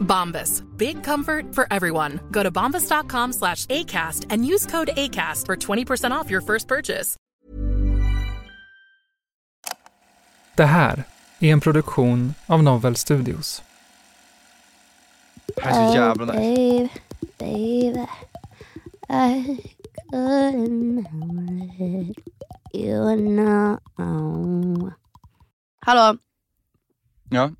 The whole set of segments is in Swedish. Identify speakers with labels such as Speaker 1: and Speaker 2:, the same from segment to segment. Speaker 1: Bombas. Big comfort for everyone. Go to bombas.com slash ACAST and use code ACAST for 20% off your first purchase.
Speaker 2: Det här är en produktion av Novel Studios.
Speaker 3: Det här är så jävla nice.
Speaker 4: baby, baby, I couldn't let you know.
Speaker 5: Hallå?
Speaker 3: Ja,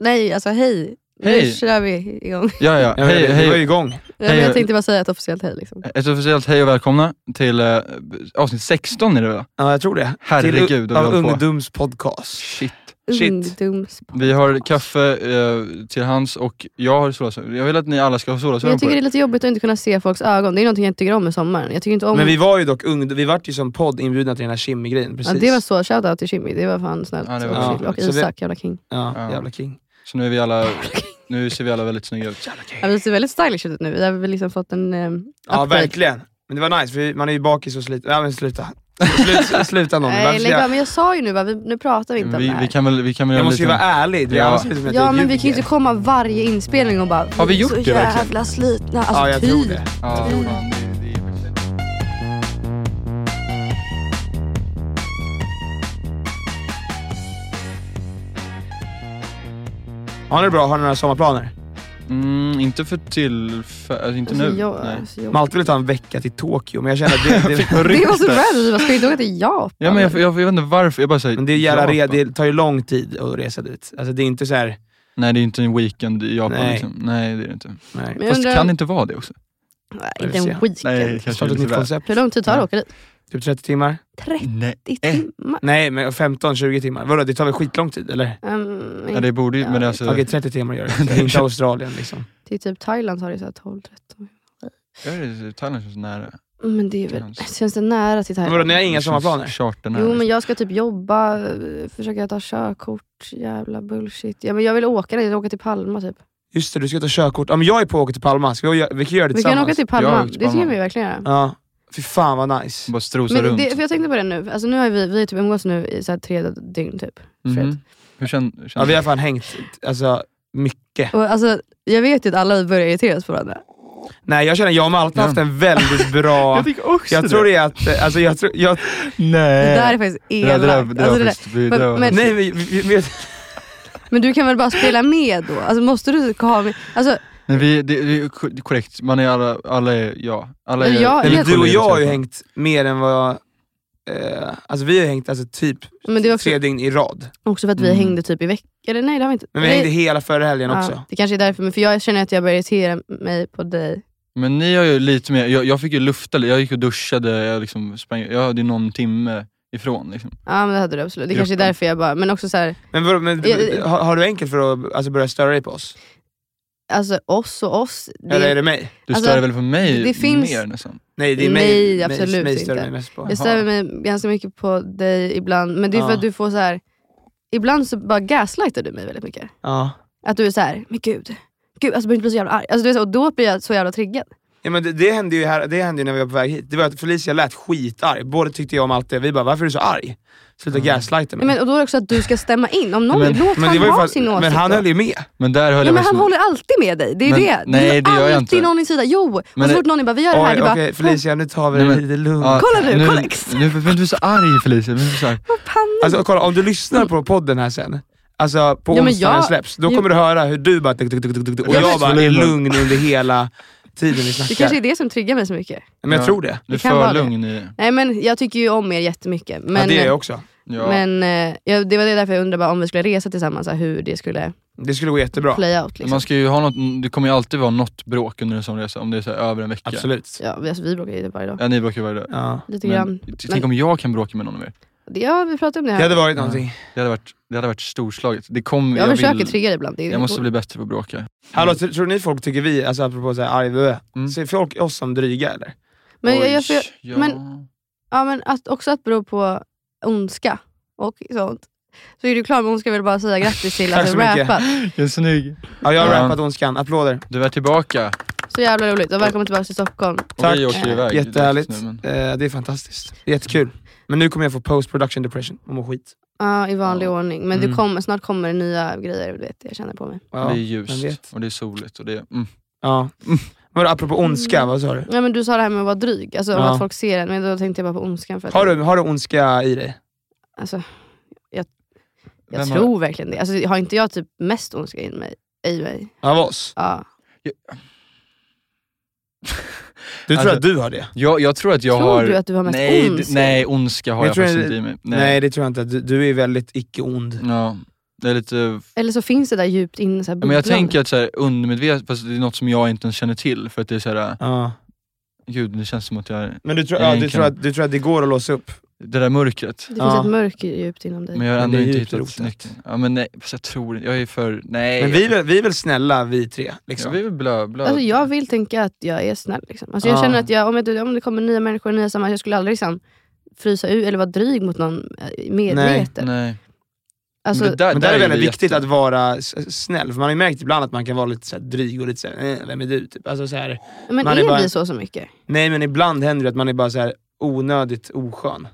Speaker 5: Nej, alltså hej. Nu
Speaker 3: Hej.
Speaker 5: kör vi igång.
Speaker 3: ja, ja.
Speaker 6: Ja,
Speaker 3: Hej,
Speaker 6: vi, vi var ju
Speaker 3: hej.
Speaker 6: igång.
Speaker 5: Nej, men
Speaker 3: Hej.
Speaker 5: jag tänkte bara säga ett officiellt hej. Liksom.
Speaker 3: Ett officiellt hej och välkomna till eh, avsnitt 16 är det väl?
Speaker 6: Ja, jag tror det.
Speaker 3: Herregud,
Speaker 6: Till-
Speaker 3: vad vi
Speaker 6: Av
Speaker 3: håller på.
Speaker 6: ungdomspodcast.
Speaker 3: Shit.
Speaker 6: Shit.
Speaker 5: Ungdoms...
Speaker 3: Vi har kaffe eh, till hands och jag har solglasögon. Jag vill att ni alla ska ha
Speaker 5: Men
Speaker 3: solglasögon
Speaker 5: jag
Speaker 3: på
Speaker 5: tycker det är
Speaker 3: er.
Speaker 5: lite jobbigt att inte kunna se folks ögon. Det är någonting jag inte tycker om med sommaren. Jag tycker inte om...
Speaker 6: Men vi var ju dock ung, vi vart ju som podd inbjudna till den här Shimmy-grejen.
Speaker 5: ja,
Speaker 6: Precis.
Speaker 5: det var så. Shoutout till Jimmy. Det var fan snällt.
Speaker 3: Ja, det var
Speaker 5: och,
Speaker 6: bra.
Speaker 5: och
Speaker 6: Så vi-
Speaker 5: Isak, jävla king.
Speaker 6: Ja,
Speaker 3: Ja.
Speaker 6: jävla king.
Speaker 3: Så nu är vi alla, nu ser vi alla väldigt snygga ut. Jävla
Speaker 5: Ja,
Speaker 3: gay.
Speaker 5: vi ser väldigt stylish ut nu. Vi har väl liksom fått en eh,
Speaker 6: Ja,
Speaker 5: upgrade.
Speaker 6: verkligen. Men det var nice, för vi- man är ju bakis och sliten. Ja men sluta. Slut, sluta någon. Varför
Speaker 5: Nej,
Speaker 6: ska
Speaker 5: lägg av.
Speaker 6: jag,
Speaker 5: Men jag sa ju nu bara, vi, nu pratar vi inte om det
Speaker 3: Vi,
Speaker 5: här.
Speaker 3: vi kan väl, vi kan väl
Speaker 6: jag
Speaker 3: göra
Speaker 6: måste ju
Speaker 3: lite...
Speaker 6: vara ärlig. Det
Speaker 3: Ja.
Speaker 6: annars blir det som att
Speaker 5: Ja
Speaker 6: jag
Speaker 5: men vi kan ju
Speaker 6: ljuger.
Speaker 5: inte komma varje inspelning och bara
Speaker 3: Har vi gjort
Speaker 5: så
Speaker 3: det
Speaker 5: jävla
Speaker 3: verkligen?
Speaker 5: slitna. Alltså,
Speaker 6: Ja, jag tror
Speaker 5: typ.
Speaker 6: det.
Speaker 3: Ja, fan, det, det är faktiskt-
Speaker 6: Har ni det bra? Har ni några sommarplaner?
Speaker 3: Mm, inte för tillfället, alltså inte
Speaker 5: Alltså,
Speaker 3: nu.
Speaker 5: jag-
Speaker 3: Nej.
Speaker 5: alltså, jag-
Speaker 6: Malte ville ta en vecka till Tokyo, men jag känner att det, det,
Speaker 5: Det var så random, man ska inte åka till Japan.
Speaker 3: Ja, men jag, jag, jag vet inte varför, jag bara säger
Speaker 6: men det, är jävla re,
Speaker 3: Japan.
Speaker 6: det tar ju lång tid att resa dit. Alltså det är inte så här.
Speaker 3: Nej, det är inte en weekend i Japan. Nej,
Speaker 6: Nej.
Speaker 3: liksom. Nej det är det inte.
Speaker 6: Nej.
Speaker 5: Men jag
Speaker 3: Fast
Speaker 5: undrar-
Speaker 3: kan det inte vara det också?
Speaker 5: Nej,
Speaker 6: Vi får
Speaker 5: inte en
Speaker 6: se.
Speaker 5: weekend.
Speaker 6: Starta ett nytt koncept.
Speaker 5: Hur lång tid tar det att åka dit?
Speaker 6: Typ 30 timmar?
Speaker 5: 30
Speaker 3: Nej.
Speaker 5: timmar?
Speaker 6: Nej, men 15-20 timmar. Vadå, det tar väl skitlång tid eller?
Speaker 5: Um,
Speaker 3: Ja, det borde ju, men alltså...
Speaker 6: Okej, 30 timmar gör det. det. är Inte Australien liksom.
Speaker 5: Till typ Thailand tar det så här 12-13.
Speaker 3: Jag är Thailand känns nära.
Speaker 5: Men det är väl, känns det nära till
Speaker 6: Men vadå,
Speaker 5: Thailand?
Speaker 6: ni har inga
Speaker 3: Det känns
Speaker 6: sommarplaner?
Speaker 3: Charter nära.
Speaker 5: Jo men jag ska typ jobba, eh, försöka ta körkort, jävla bullshit. Ja, men jag vill åka dit, åka till Palma typ.
Speaker 6: Just det, du ska ta körkort. Ja, men jag är på att åka till Palma. Ska vi, vi kan göra det
Speaker 5: Vi
Speaker 6: tillsammans.
Speaker 5: kan åka till Palma,
Speaker 3: Jag åker
Speaker 5: det
Speaker 3: till
Speaker 5: tycker
Speaker 3: Palma.
Speaker 5: vi verkligen göra.
Speaker 6: Ja. Fy fan vad nice.
Speaker 3: Bara strosa
Speaker 5: Men
Speaker 3: runt.
Speaker 5: det, för jag tänkte på det nu, alltså nu har vi, vi har typ umgåtts nu i så här tre dygn typ.
Speaker 3: Mhm.
Speaker 5: Fred.
Speaker 3: Hur känner,
Speaker 6: Ja,
Speaker 3: känner
Speaker 6: vi har fan hängt alltså, mycket.
Speaker 5: Och alltså, jag vet ju att alla börjar irriteras på varandra.
Speaker 6: Nej, jag känner jag och Malte har haft en väldigt bra...
Speaker 3: tycker också
Speaker 6: Jag tror det är att... eh, Alltså, jag tror, jag,
Speaker 3: Nej.
Speaker 5: Det där är faktiskt
Speaker 3: Eh, det där, det där,
Speaker 5: elakt.
Speaker 3: det
Speaker 5: Alltså, det
Speaker 3: där,
Speaker 5: där-
Speaker 3: faktiskt- det där,
Speaker 5: men-
Speaker 6: nej, vi, vi, vi,
Speaker 5: Men du kan väl bara spela med då? Alltså måste du ha med... Alltså,
Speaker 3: Nej, vi, det, det är ko- korrekt, man är alla, alla är, ja. Alla är,
Speaker 5: Men jag-
Speaker 6: nej, men
Speaker 5: jag-
Speaker 6: du och jag har ju
Speaker 3: kollegor,
Speaker 6: hängt mer än vad... Eh, alltså vi har hängt alltså, typ
Speaker 5: men det är också,
Speaker 6: tre dygn i rad.
Speaker 5: också för att vi
Speaker 3: Mm.
Speaker 5: hängde typ i veckan. Eller nej det har vi inte.
Speaker 6: Men vi
Speaker 5: Nej.
Speaker 6: hängde hela förra helgen också.
Speaker 5: Ja, det kanske är därför, men för jag känner att jag börjar irritera mig på dig.
Speaker 3: Men ni har ju lite mer, jag, jag fick ju lufta lite, jag gick och duschade, jag, liksom sprang, jag hade ju någon timme ifrån. Liksom.
Speaker 5: Ja men det hade du absolut. Det kanske är
Speaker 3: Gruppen.
Speaker 5: därför jag bara, men också så här,
Speaker 6: Men, vadå, men
Speaker 5: Jag-
Speaker 6: har, har du enkelt för att alltså, börja störa dig på oss?
Speaker 5: alltså oss och oss. Det,
Speaker 6: Eller är det mig?
Speaker 3: Du
Speaker 5: Alltså,
Speaker 3: stör väl på mig
Speaker 5: det finns-
Speaker 3: mer nästan?
Speaker 6: Nej, det är
Speaker 5: Nej,
Speaker 6: mig, mig,
Speaker 5: absolut
Speaker 6: mig stör
Speaker 5: inte.
Speaker 6: mig mest på.
Speaker 5: jag stör mig ganska mycket på dig ibland, men det är för
Speaker 6: Ja.
Speaker 5: att du får så här. ibland så bara gaslightar du mig väldigt mycket.
Speaker 6: Ja.
Speaker 5: Att du är så här, men gud, gud alltså du behöver inte bli så jävla arg. Alltså, du vet, så, och då blir jag så jävla triggad.
Speaker 6: Ja, men det, det, hände ju här, det hände ju när vi var på väg hit. Det var att Felicia lät skitarg. Både tyckte jag om allt det. Vi bara, varför är du så arg? Sluta
Speaker 3: Mm.
Speaker 6: gaslighta mig.
Speaker 5: Nej, men, och då är det också att du ska stämma in. Om någon,
Speaker 3: Men-
Speaker 5: låt
Speaker 6: Men
Speaker 5: han
Speaker 6: det var ju
Speaker 5: ha
Speaker 6: för att-
Speaker 5: sin åsikt.
Speaker 6: men han
Speaker 5: då.
Speaker 6: höll ju med.
Speaker 3: Men där höll
Speaker 5: Ja,
Speaker 3: jag
Speaker 5: men
Speaker 3: faktiskt
Speaker 5: han
Speaker 3: med.
Speaker 5: håller alltid med dig. Det är
Speaker 3: Men-
Speaker 5: det.
Speaker 3: nej,
Speaker 5: är
Speaker 3: det gör jag
Speaker 5: alltid
Speaker 3: inte.
Speaker 5: någon i sidan. Jo,
Speaker 3: Men
Speaker 5: och så
Speaker 3: det-
Speaker 5: fort någon är bara, vi gör det här.
Speaker 6: Oj,
Speaker 5: Du
Speaker 6: okej
Speaker 5: bara,
Speaker 6: Felicia nu tar vi
Speaker 3: Nej,
Speaker 6: det
Speaker 3: men-
Speaker 6: lite lugnt.
Speaker 3: Ja,
Speaker 5: Kolla nu,
Speaker 3: nu,
Speaker 5: kolla exakt.
Speaker 3: Nu behöver du inte bli så arg Felicia, du behöver inte bli så arg.
Speaker 5: vad panik.
Speaker 6: Alltså kolla, om du lyssnar på podden här sen. Alltså på
Speaker 5: Ja, men
Speaker 6: onsdag när
Speaker 5: jag-
Speaker 6: den släpps, då
Speaker 5: Jo.
Speaker 6: kommer du höra hur du bara... tuk, tuk, tuk, tuk, tuk, tuk, Och
Speaker 3: Ja,
Speaker 6: jag
Speaker 3: men-
Speaker 6: bara är lugn under hela tiden vi
Speaker 5: Det
Speaker 6: snackar.
Speaker 5: kanske är det som triggar mig så mycket.
Speaker 6: Men jag tror det.
Speaker 3: Du är
Speaker 5: kan vara
Speaker 3: för
Speaker 5: det.
Speaker 3: lugn i...
Speaker 5: Nej men jag tycker ju om er jättemycket. Men, eh,
Speaker 6: ja, det är jag också.
Speaker 3: Ja.
Speaker 5: men eh, ja, det var det därför jag undrade bara om vi skulle resa tillsammans, så här, hur det skulle
Speaker 6: Det skulle gå jättebra.
Speaker 5: play out. Liksom.
Speaker 3: Man ska ju ha något, det kommer ju alltid vara något bråk under en sån resa, om det är så här, över en vecka.
Speaker 6: Absolut.
Speaker 5: Ja, vi, alltså, vi bråkar ju varje dag.
Speaker 3: Ja, ni bråkar ju varje dag.
Speaker 6: Ja.
Speaker 5: Lite
Speaker 3: Men,
Speaker 5: grann.
Speaker 3: t- tänk om jag kan bråka med någon av er.
Speaker 5: Det- Ja, vi pratade om det
Speaker 6: Det
Speaker 5: här.
Speaker 6: hade varit någonting.
Speaker 3: Det hade varit, det hade varit storslaget. Det kom,
Speaker 5: jag, försöker
Speaker 3: vill,
Speaker 5: trigga dig ibland. Det är
Speaker 3: Jag måste bli bättre på att bråka.
Speaker 6: Hallå, tr- tror ni folk tycker vi, alltså apropå så här, arg vö,
Speaker 3: Mm.
Speaker 6: ser folk oss som dryga eller?
Speaker 5: men, jag,
Speaker 3: Oj,
Speaker 5: jag, jag,
Speaker 3: ja.
Speaker 5: men- ja, men att, också att bero på ondska och sånt. Så är du klar med ondska vill jag bara säga grattis till
Speaker 6: Tack
Speaker 5: att du
Speaker 6: så mycket.
Speaker 5: rappat.
Speaker 3: Jag är snygg.
Speaker 6: Ja, jag har
Speaker 3: Ja.
Speaker 6: rappat Ondskan. Applåder.
Speaker 3: Du är tillbaka.
Speaker 5: Så jävla roligt. Och välkommen tillbaka till Stockholm.
Speaker 3: Och
Speaker 6: Tack.
Speaker 3: vi åker iväg.
Speaker 6: Jättehärligt.
Speaker 3: direkt nu, men-
Speaker 6: Eh, det är fantastiskt. Jättekul. Men nu kommer jag få post production depression och må skit.
Speaker 5: Ja, i vanlig ordning. Men
Speaker 6: Mm.
Speaker 5: du kommer, snart kommer det nya grejer, du vet, jag känner på mig.
Speaker 6: Ja,
Speaker 3: det är
Speaker 6: vem vet.
Speaker 3: ljust och det är soligt. Och det är, mm.
Speaker 6: Ja. Vadå, apropå ondska, vad sa du?
Speaker 5: Ja, men du sa det här med att vara dryg, alltså om
Speaker 6: Ja.
Speaker 5: att folk ser en, men då tänkte jag bara på ondskan. För att,
Speaker 6: Har du, har du ondska i dig?
Speaker 5: Alltså, jag jag
Speaker 3: Vem har-
Speaker 5: tror verkligen det. Alltså, har inte jag typ mest ondska i mig? I mig?
Speaker 6: Av oss?
Speaker 5: Ja.
Speaker 6: Du tror
Speaker 3: Alltså-
Speaker 6: att du har det?
Speaker 3: jag, jag tror att jag
Speaker 5: Tror
Speaker 3: har...
Speaker 5: du att du har mest
Speaker 3: nej, d-
Speaker 5: ondska?
Speaker 3: Nej, ondska har
Speaker 6: Jag
Speaker 3: jag,
Speaker 6: tror
Speaker 3: faktiskt
Speaker 6: jag-
Speaker 3: inte i mig.
Speaker 6: Nej. det tror jag inte. Du, du är väldigt icke-ond.
Speaker 3: Ja, det är lite...
Speaker 5: Eller så finns det där djupt inne. Så här,
Speaker 3: Ja, Men jag
Speaker 5: bubblan.
Speaker 3: tänker att så här, undermedvetet, fast det är något som jag inte ens känner till. För att det är så här, äh,
Speaker 6: Ja.
Speaker 3: gud det känns som att jag är...
Speaker 6: Men du, tror,
Speaker 3: Jag
Speaker 6: ja, du,
Speaker 3: kan-
Speaker 6: tror att, du tror att det går att låsa upp?
Speaker 3: Det där mörkret.
Speaker 5: Det finns
Speaker 6: Ja.
Speaker 5: ett mörker djupt inom dig.
Speaker 3: Men jag har
Speaker 6: Men det
Speaker 3: ändå
Speaker 6: är
Speaker 3: inte
Speaker 6: ju
Speaker 3: hittat
Speaker 6: rotat.
Speaker 3: nyckeln. Ja men nej, fast jag tror inte- Jag är för... Nej.
Speaker 6: Men vi är väl, vi är väl snälla vi tre? Liksom.
Speaker 3: ja, vi är väl blö, blö.
Speaker 5: Alltså, jag vill tänka att jag är snäll. Liksom. Alltså, jag
Speaker 6: Ja.
Speaker 5: känner att jag, om, jag, om det kommer nya människor, nya sammanhang, jag skulle aldrig liksom, frysa ut eller vara dryg mot någon eh, medvetet.
Speaker 3: Nej.
Speaker 5: Alltså,
Speaker 3: Men det där,
Speaker 6: Men där är det
Speaker 3: vi
Speaker 6: väldigt viktigt
Speaker 3: jätte-
Speaker 6: att vara s- snäll, för man har ju märkt ibland att man kan vara lite så här dryg och lite såhär, eh, vem är du? Typ. Alltså så här,
Speaker 5: men
Speaker 6: man
Speaker 5: är
Speaker 6: är bara-
Speaker 5: vi så så mycket?
Speaker 6: nej men ibland händer det att man är bara så här onödigt oskön.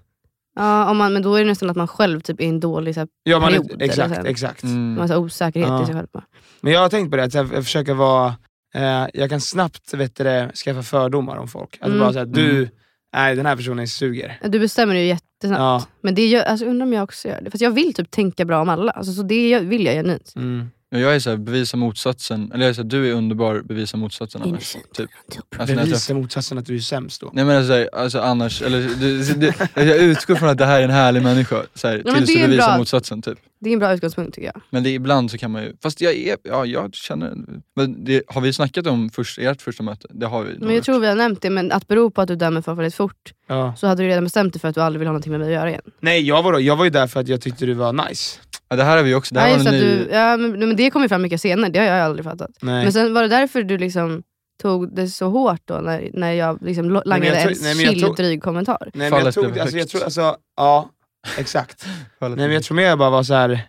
Speaker 5: Ja, om man, men då är det nästan att man själv typ är i en dålig så här,
Speaker 6: Ja, man
Speaker 5: Period,
Speaker 6: är,
Speaker 5: eller så
Speaker 6: exakt,
Speaker 5: här.
Speaker 6: exakt.
Speaker 3: Mm.
Speaker 5: massa osäkerhet
Speaker 6: Ja.
Speaker 5: i sig själv. Bara.
Speaker 6: Men jag har tänkt på det, att så här, jag försöker vara, eh, jag kan snabbt vet du, det, skaffa fördomar om folk. Alltså
Speaker 5: Mm.
Speaker 6: bara såhär, du, nej den här personen suger.
Speaker 5: Du bestämmer ju jättesnabbt.
Speaker 6: Ja.
Speaker 5: Men det gör, alltså, undrar om jag också gör det. För jag vill typ tänka bra om alla. Alltså, så det gör- vill jag genuint.
Speaker 6: Mm.
Speaker 3: Ja, Jag är såhär, bevisa motsatsen. Eller jag är såhär, du är underbar, bevisa motsatsen annars.
Speaker 4: Innocent.
Speaker 3: Typ. Alltså, när jag
Speaker 6: Bevisa motsatsen att du är sämst då.
Speaker 3: Nej men alltså, såhär, alltså annars, eller det, det, jag utgår från att det här är en härlig människa, såhär,
Speaker 5: men
Speaker 3: tills
Speaker 5: det är
Speaker 3: du
Speaker 5: en
Speaker 3: bevisar
Speaker 5: bra-
Speaker 3: motsatsen typ.
Speaker 5: Det är en bra utgångspunkt tycker jag.
Speaker 3: Men det, ibland så kan man ju, fast jag är, ja jag känner, men det, har vi snackat om först, ert första möte? Det har vi nog
Speaker 5: Men jag
Speaker 3: gjort.
Speaker 5: tror vi har nämnt det, men att bero på att du dömer folk väldigt fort,
Speaker 6: Ja.
Speaker 5: så hade du redan bestämt dig för att du aldrig vill ha någonting med mig att göra igen.
Speaker 6: Nej jag var, då, jag var ju där för att jag tyckte du var nice.
Speaker 3: Ja, det här har vi också, det
Speaker 5: Ja,
Speaker 3: här
Speaker 5: just
Speaker 3: var
Speaker 5: att
Speaker 3: en ny...
Speaker 5: du, ja, men, men det kom ju fram mycket senare, det har jag aldrig fattat.
Speaker 6: Nej.
Speaker 5: Men sen var det därför du liksom tog det så hårt då, när, när jag liksom lo-
Speaker 6: men jag
Speaker 5: langade
Speaker 6: tror-
Speaker 5: en
Speaker 6: nej, men jag
Speaker 5: chill,
Speaker 6: tror-
Speaker 5: dryg kommentar.
Speaker 6: Nej, men jag
Speaker 3: Fallet
Speaker 6: tog,
Speaker 3: blev
Speaker 6: det- alltså, jag
Speaker 3: högt.
Speaker 6: tror, alltså, ja, exakt.
Speaker 3: Fallet-
Speaker 6: Nej men jag tror mer jag bara var så här.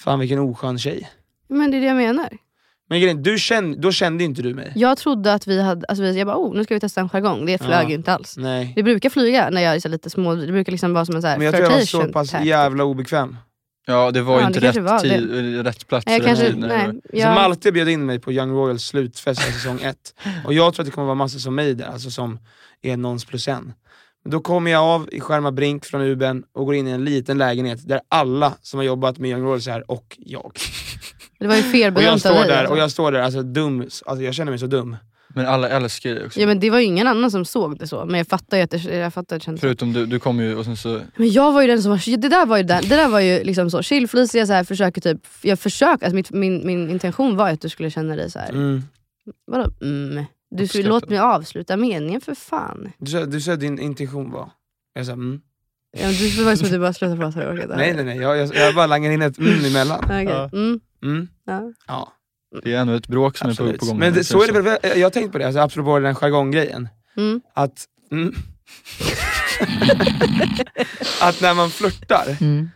Speaker 6: fan vilken oskön tjej.
Speaker 5: Men det är det jag menar.
Speaker 6: Men grejen, du kände, då kände ju inte du mig.
Speaker 5: Jag trodde att vi hade, alltså vi, jag bara oh, nu ska vi testa en jargong, det flög
Speaker 6: Ja. Mm.
Speaker 5: ju inte alls.
Speaker 6: Nej.
Speaker 5: Det brukar flyga när jag är så lite små, det brukar liksom vara som en så här
Speaker 6: Men jag tror jag var så
Speaker 5: flirtation
Speaker 6: pass
Speaker 5: tactic.
Speaker 6: jävla obekväm.
Speaker 3: Ja det var
Speaker 5: Ja,
Speaker 3: ju
Speaker 5: det
Speaker 3: inte
Speaker 5: kanske
Speaker 3: rätt,
Speaker 5: var
Speaker 3: tid, eller rätt plats,
Speaker 5: Nej, jag
Speaker 3: rätt
Speaker 5: kanske,
Speaker 3: tid. när det
Speaker 5: nej,
Speaker 3: var-
Speaker 6: Så
Speaker 5: jag,
Speaker 6: Alltså, Malte bjöd in mig på Young Royals slutfest av säsong ett. Och jag tror att det kommer vara massor som mig där, alltså som är någons plus en. Men Då kommer jag av i Skärma Brink från Uben och går in i en liten lägenhet där alla som har jobbat med Young Royals är och jag.
Speaker 5: det var ju
Speaker 6: Och jag
Speaker 5: felbedömt av
Speaker 6: står
Speaker 5: dig.
Speaker 6: där,
Speaker 5: alltså.
Speaker 6: och jag står där alltså dum, alltså jag känner mig så dum.
Speaker 3: Men alla älskar ju också.
Speaker 5: Ja, men det var ju ingen annan som såg det så, men jag fattar ju att det, jag fattar att det kändes så.
Speaker 3: Förutom du, du kom ju och sen så...
Speaker 5: Men jag var ju den som var, det där var ju, den, det där var ju liksom så chillflis, jag så här försöker typ, jag försöker, alltså mitt, min, min intention var ju att du skulle känna dig så här.
Speaker 6: Mm.
Speaker 5: vadå mm? Du, skulle-
Speaker 3: Uppskattad.
Speaker 5: låt mig avsluta meningen för fan.
Speaker 6: Du sa- du sa att din intention var... Jag sa mm.
Speaker 5: Ja, men du det var ju som att du bara slutade prata, jag orkar inte.
Speaker 6: Nej nej nej, jag, jag, jag bara langar in ett mm emellan.
Speaker 5: Okej,
Speaker 3: Ja.
Speaker 5: Mm,
Speaker 6: Mm.
Speaker 5: ja.
Speaker 6: Ja,
Speaker 3: Det är ännu ett bråk som är på,
Speaker 6: absolut.
Speaker 3: på gång.
Speaker 6: Men det, så är det väl, jag jag har tänkt på det, alltså, apropå den jargonggrejen.
Speaker 5: Mm.
Speaker 6: Att, mm, att när man flörtar,
Speaker 5: Mm.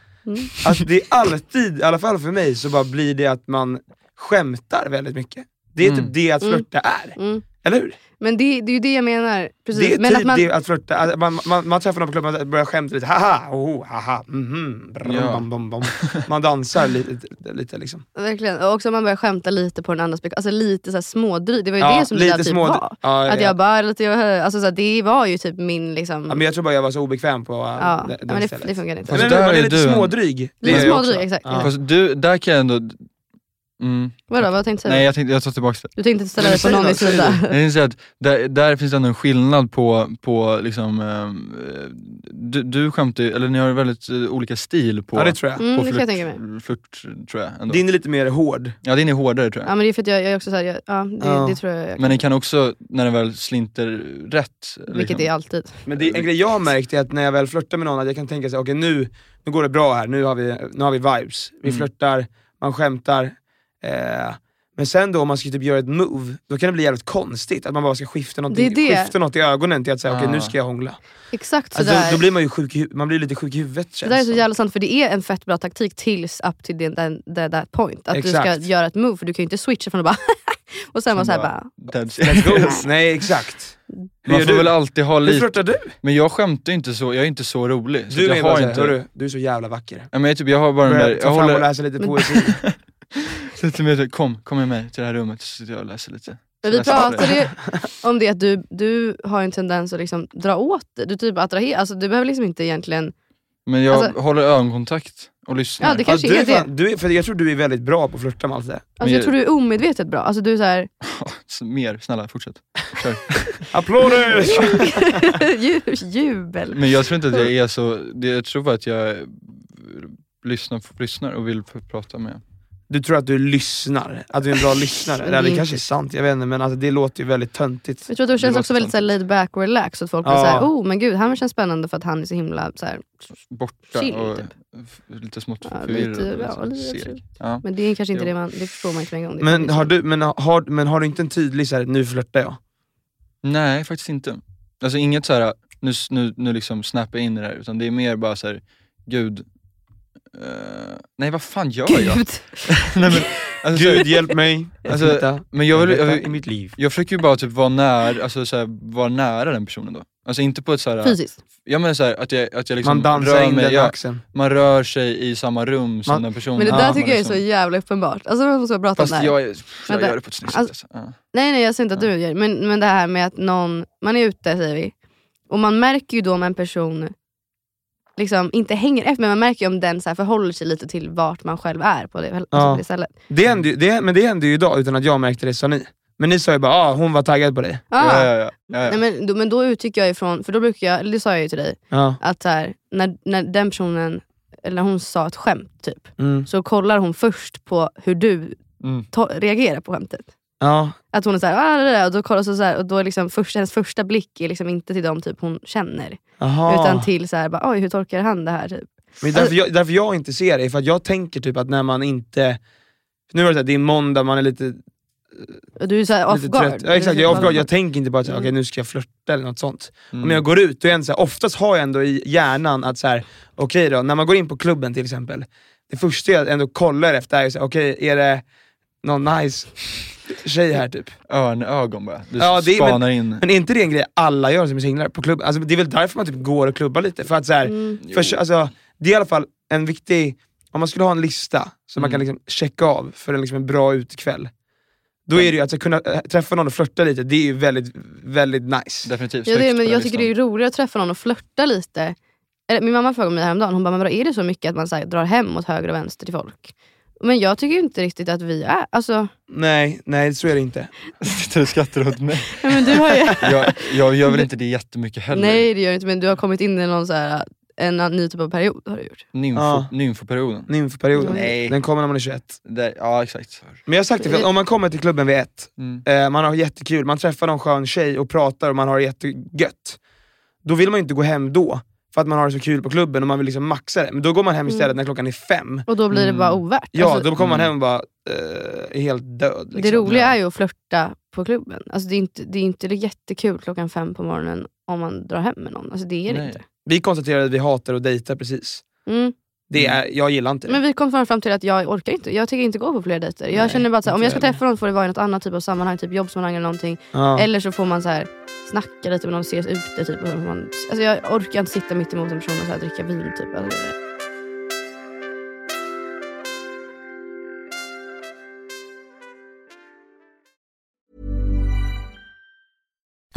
Speaker 6: att det är alltid, i alla fall för mig, så bara blir det att man skämtar väldigt mycket. Det är
Speaker 3: Mm.
Speaker 6: typ det att flörta är.
Speaker 5: Mm.
Speaker 6: Eller hur?
Speaker 5: Men det, det är ju det jag menar. Precis.
Speaker 6: Det är
Speaker 5: men
Speaker 6: typ
Speaker 5: att man,
Speaker 6: det att flörta, att man, man, man träffar någon på klubben och börjar skämta lite, haha, oh, haha, mhm, brum,
Speaker 3: Ja.
Speaker 6: bam, bam, bam. Man dansar lite, lite liksom.
Speaker 5: Verkligen. Och också man börjar skämta lite på den andras bekostnad. Alltså lite så här smådryg. Det var ju det som det där typ
Speaker 6: små-
Speaker 5: var.
Speaker 6: Ja,
Speaker 5: Att
Speaker 6: ja.
Speaker 5: jag bara, lite, jag- alltså så här, det var ju typ min liksom...
Speaker 6: Ja, men jag tror bara jag var så obekväm på äh,
Speaker 5: ja,
Speaker 6: det,
Speaker 5: men det,
Speaker 6: stället.
Speaker 5: det funkar inte.
Speaker 3: Fast
Speaker 6: men,
Speaker 3: där
Speaker 6: man är
Speaker 3: är
Speaker 6: lite
Speaker 3: du en-
Speaker 6: smådryg. Det
Speaker 5: Lite
Speaker 6: är jag
Speaker 5: smådryg,
Speaker 6: också.
Speaker 5: exakt,
Speaker 6: Ja.
Speaker 5: exakt.
Speaker 3: Fast du, där kan jag ändå... Mm.
Speaker 5: Vadå, vad tänkte du
Speaker 3: Nej,
Speaker 5: säga?
Speaker 3: jag, tänkte, jag tar tillbaka det.
Speaker 5: Du tänkte inte ställa
Speaker 3: Nej,
Speaker 5: dig på
Speaker 3: men
Speaker 5: någon
Speaker 3: säg då, säg
Speaker 5: sida?
Speaker 3: Jag tänkte säga att där, där finns det ändå en skillnad på, på liksom, ehm, eh, du, du skämtar ju, eller ni har ju väldigt eh, olika stil på,
Speaker 6: Ja det tror jag.
Speaker 5: Mm,
Speaker 3: på
Speaker 5: det kan jag tänka mig.
Speaker 3: flört, tror jag.
Speaker 5: Mm.
Speaker 3: Ändå.
Speaker 6: Din är lite mer hård.
Speaker 3: Ja, din är hårdare tror jag.
Speaker 5: Ja men det är för att jag, jag är också såhär, jag- ja, det,
Speaker 6: Ja.
Speaker 5: det tror jag, jag
Speaker 3: Men den kan också, när den väl slinter rätt. liksom.
Speaker 5: vilket det är alltid.
Speaker 6: Men det, en grej jag har märkt är att när jag väl flörtar med någon, att jag kan tänka så här, okej nu, nu går det bra här, nu har vi, nu har vi vibes. Vi
Speaker 3: Mm.
Speaker 6: flörtar, man skämtar. Eh, men sen då om man ska typ göra ett move, då kan det bli jävligt konstigt. Att man bara ska skifta något,
Speaker 5: Det är det.
Speaker 6: Skifta något i ögonen till att säga okej
Speaker 3: Ah.
Speaker 6: nu ska jag hångla.
Speaker 5: Exakt
Speaker 6: Alltså, då,
Speaker 5: sådär.
Speaker 6: då blir man ju sjuk i, hu- man blir lite sjuk i huvudet
Speaker 5: det
Speaker 6: känns
Speaker 5: där är så
Speaker 6: som.
Speaker 5: jävla sant för det är en fett bra taktik tills up till den, den, den, that point. Att du
Speaker 6: Exakt.
Speaker 5: ska göra ett move för du kan ju inte switcha från att bara och sen vara såhär bara,
Speaker 3: Let's
Speaker 6: Let's go. Nej exakt. Hur
Speaker 3: Man
Speaker 6: gör
Speaker 3: får
Speaker 6: du?
Speaker 3: väl alltid ha
Speaker 6: Hur
Speaker 3: lite,
Speaker 6: flörtar du?
Speaker 3: men jag skämtar ju inte så, jag är inte så rolig. Så
Speaker 6: Du
Speaker 3: att
Speaker 6: är
Speaker 3: jag
Speaker 6: bara
Speaker 3: har
Speaker 6: såhär,
Speaker 3: inte...
Speaker 6: hörru, du är så jävla vacker.
Speaker 3: Ja, men jag, typ, jag har bara den
Speaker 6: Börja
Speaker 3: där,
Speaker 6: ta fram
Speaker 3: jag
Speaker 6: och
Speaker 3: håller,
Speaker 6: läsa lite
Speaker 5: Men-
Speaker 6: poesi.
Speaker 3: så till mig, så här, kom, kom med mig till det här rummet så sitter jag och läser lite.
Speaker 5: Men vi
Speaker 3: Nästa
Speaker 5: pratade
Speaker 3: fråga.
Speaker 5: ju om det att du, du har en tendens att liksom dra åt dig. Du typ attraherar, alltså du behöver liksom inte egentligen...
Speaker 3: Men jag
Speaker 5: Alltså-
Speaker 3: håller ögonkontakt och lyssnar.
Speaker 5: Ja det kanske
Speaker 6: ja, Alltså, du
Speaker 5: är
Speaker 6: är
Speaker 5: det.
Speaker 6: fan, du är, för jag tror du är väldigt bra på att flörta med allt det där.
Speaker 5: Alltså,
Speaker 3: jag-
Speaker 5: jag tror du är omedvetet bra. Alltså du är såhär,
Speaker 3: Så Mer, snälla fortsätt. Kör.
Speaker 6: Applåder!
Speaker 5: ju- jubel.
Speaker 3: Men jag tror inte att jag är så, det- jag tror bara att jag eh, lyssnar, lyssnar och vill pr- prata med.
Speaker 6: Du tror att du lyssnar, att du är en bra lyssnare.
Speaker 5: Men
Speaker 6: Eller
Speaker 5: det är
Speaker 6: det kanske är sant, jag vet inte men alltså, det låter ju väldigt töntigt.
Speaker 5: Jag tror att du känns
Speaker 3: låter
Speaker 5: också väldigt
Speaker 3: sant.
Speaker 5: såhär, laid back och relaxed. Att folk blir
Speaker 6: Ja.
Speaker 5: såhär, oh men gud han känns spännande för att han är så himla såhär.
Speaker 3: Borta
Speaker 5: Chill,
Speaker 3: och
Speaker 5: typ.
Speaker 3: f- lite smått
Speaker 5: Ja,
Speaker 3: förvirrad.
Speaker 5: lite,
Speaker 3: och
Speaker 5: ja,
Speaker 3: liksom
Speaker 5: lite,
Speaker 3: seg.
Speaker 5: absolut.
Speaker 3: Ja.
Speaker 5: Men det är kanske inte
Speaker 3: Jo.
Speaker 5: det man, det förstår man inte med en gång. Det liksom.
Speaker 6: Men
Speaker 5: är
Speaker 6: har,
Speaker 5: så.
Speaker 6: du, men, har, men har du inte en tydlig såhär, nu flörtar jag?
Speaker 3: Nej, faktiskt inte. Alltså inget så här, nu, s- nu, nu liksom snappar jag in i det här, utan det är mer bara så här, gud, eh, nej vad fan gör jag?
Speaker 5: Gud.
Speaker 3: nej, men, alltså, så här,
Speaker 6: Gud hjälp mig!
Speaker 3: Alltså,
Speaker 6: Alltså,
Speaker 3: men jag, vill, jag,
Speaker 6: i
Speaker 3: vill,
Speaker 6: mitt liv.
Speaker 3: jag försöker ju bara typ vara nära, alltså, så här, vara nära den personen då. Alltså inte på ett så här,
Speaker 5: Fysiskt.
Speaker 3: jag menar så här, att jag, att jag liksom
Speaker 6: Man dansar
Speaker 3: rör
Speaker 6: in
Speaker 3: mig,
Speaker 6: den
Speaker 3: jag,
Speaker 6: axeln.
Speaker 3: man rör sig i samma rum som
Speaker 6: Man-
Speaker 3: den personen.
Speaker 5: Men det
Speaker 3: Ja,
Speaker 5: där
Speaker 3: man
Speaker 5: tycker jag är så
Speaker 3: liksom-
Speaker 5: jävla uppenbart. Alltså man måste prata om
Speaker 3: Fast
Speaker 5: det här.
Speaker 3: jag, är- jag
Speaker 5: Vänta.
Speaker 3: gör det på ett snyggt sätt
Speaker 5: Alltså-
Speaker 3: alltså. Ja.
Speaker 5: Nej nej jag säger inte att
Speaker 3: Ja.
Speaker 5: du gör det. men, men det här med att någon, man är ute säger vi, och man märker ju då om en person liksom inte hänger efter, men man märker ju om den så här förhåller sig lite till vart man själv är på det, alltså
Speaker 6: Ja.
Speaker 5: på det stället.
Speaker 6: Det hände, ju- det, men det hände ju idag utan att jag märkte det sa ni. Men ni sa ju bara ah, hon var taggad på dig.
Speaker 5: Ah.
Speaker 3: Ja, ja, ja, ja, ja.
Speaker 5: Nej, men, då, men då utgick jag ifrån, för då brukar jag, eller det sa jag ju till dig,
Speaker 6: Ja.
Speaker 5: att så här, när, när den personen, eller när hon sa ett skämt typ,
Speaker 6: Mm.
Speaker 5: så kollar hon först på hur du
Speaker 3: Mm.
Speaker 5: to- reagerar på skämtet.
Speaker 6: ja.
Speaker 5: Att hon är såhär, ah, det där", och då kollar så så här, och då är liksom första, hennes första blick är liksom inte till dem typ hon känner.
Speaker 6: Aha.
Speaker 5: Utan till såhär, bara, oj hur tolkar han det här? Typ.
Speaker 6: Men därför, jag, därför jag inte ser det, för att jag tänker typ att när man inte... Nu är det, så här, det är måndag, man är lite
Speaker 5: Och du är såhär off
Speaker 6: lite
Speaker 5: guard.
Speaker 6: trött. Ja, exakt,
Speaker 5: Du
Speaker 6: jag, är
Speaker 5: så-
Speaker 6: off guard. jag tänker inte bara att
Speaker 5: Mm.
Speaker 6: mm. nu ska jag flörta eller något sånt.
Speaker 3: Mm.
Speaker 6: Om jag går ut, då är jag inte så här, oftast har jag ändå i hjärnan att så här, okej då, när man går in på klubben till exempel, det första jag ändå kollar efter är ju så här, okej är det någon nice tjej här typ?
Speaker 3: Örnögon bara, du
Speaker 6: Ja, det är- men-
Speaker 3: spanar in.
Speaker 6: Men är inte det en grej alla gör som är singlar på klubben? Alltså, det är väl därför man typ går och klubbar lite? För att så här,
Speaker 5: Mm.
Speaker 6: för, alltså, det är i alla fall en viktig, om man skulle ha en lista som man
Speaker 3: Mm.
Speaker 6: kan liksom checka av för en, liksom en bra utekväll, då är det ju att så kunna äh, träffa någon och flörta lite, det är ju väldigt, väldigt nice.
Speaker 3: Definitivt.
Speaker 5: Ja, det, är- men
Speaker 3: högt på
Speaker 6: liksom.
Speaker 5: jag
Speaker 3: den
Speaker 5: tycker det
Speaker 3: listan.
Speaker 5: är roligare att träffa någon och flörta lite. Eller, min mamma frågade mig häromdagen, hon bara, men vadå, är det så mycket att man så här, drar hem åt höger och vänster till folk? Men jag tycker ju inte riktigt att vi är... Alltså,
Speaker 6: Nej, nej så är det inte.
Speaker 3: Sitter och skrattar åt mig.
Speaker 5: ja, men du har ju,
Speaker 3: Jag, jag gör väl inte det jättemycket heller.
Speaker 5: nej det gör du inte, men du har kommit in i någon så här, en ny typ av period. har du gjort.
Speaker 3: Nymfo,
Speaker 6: Ja.
Speaker 3: Nymfoperioden.
Speaker 6: Nymfperioden.
Speaker 3: Nej.
Speaker 6: Den kommer när man är 21.
Speaker 3: Där, ja exakt.
Speaker 6: Men jag har sagt det, för att om man kommer till klubben vid ett,
Speaker 3: Mm.
Speaker 6: eh, man har jättekul, man träffar någon skön tjej och pratar och man har det jättegött. Då vill man ju inte gå hem då, för att man har det så kul på klubben och man vill liksom maxa det. Men då går man hem istället när klockan är fem.
Speaker 5: Och då blir
Speaker 3: Mm.
Speaker 5: det bara ovärt.
Speaker 6: Ja,
Speaker 5: Mm. Alltså,
Speaker 6: då kommer man
Speaker 3: mm.
Speaker 6: hem och bara eh, är helt död. Liksom.
Speaker 5: det roliga
Speaker 3: ja.
Speaker 5: är ju att flörta på klubben. Alltså, det, är inte, det är inte jättekul klockan fem på morgonen om man drar hem med någon. Alltså, det är det
Speaker 3: Nej.
Speaker 5: inte.
Speaker 6: Vi konstaterade att vi hatar att dejta precis.
Speaker 5: Mm.
Speaker 6: Det
Speaker 3: Mm.
Speaker 6: är, jag gillar inte det.
Speaker 5: Men vi kom fan fram till att jag orkar inte. Jag tycker inte gå på fler dejter. Jag
Speaker 6: Nej,
Speaker 5: känner bara att så här, om
Speaker 6: inte
Speaker 5: jag ska
Speaker 6: jag heller.
Speaker 5: träffa någon får det vara i något annat typ av sammanhang, typ jobbsammanhang eller någonting.
Speaker 6: ja.
Speaker 5: Eller så får man så här, snacka lite med någon, ses ute typ. Och så får man, alltså jag orkar inte sitta mitt emot en person och så här, dricka vin typ. Alltså,
Speaker 7: I'm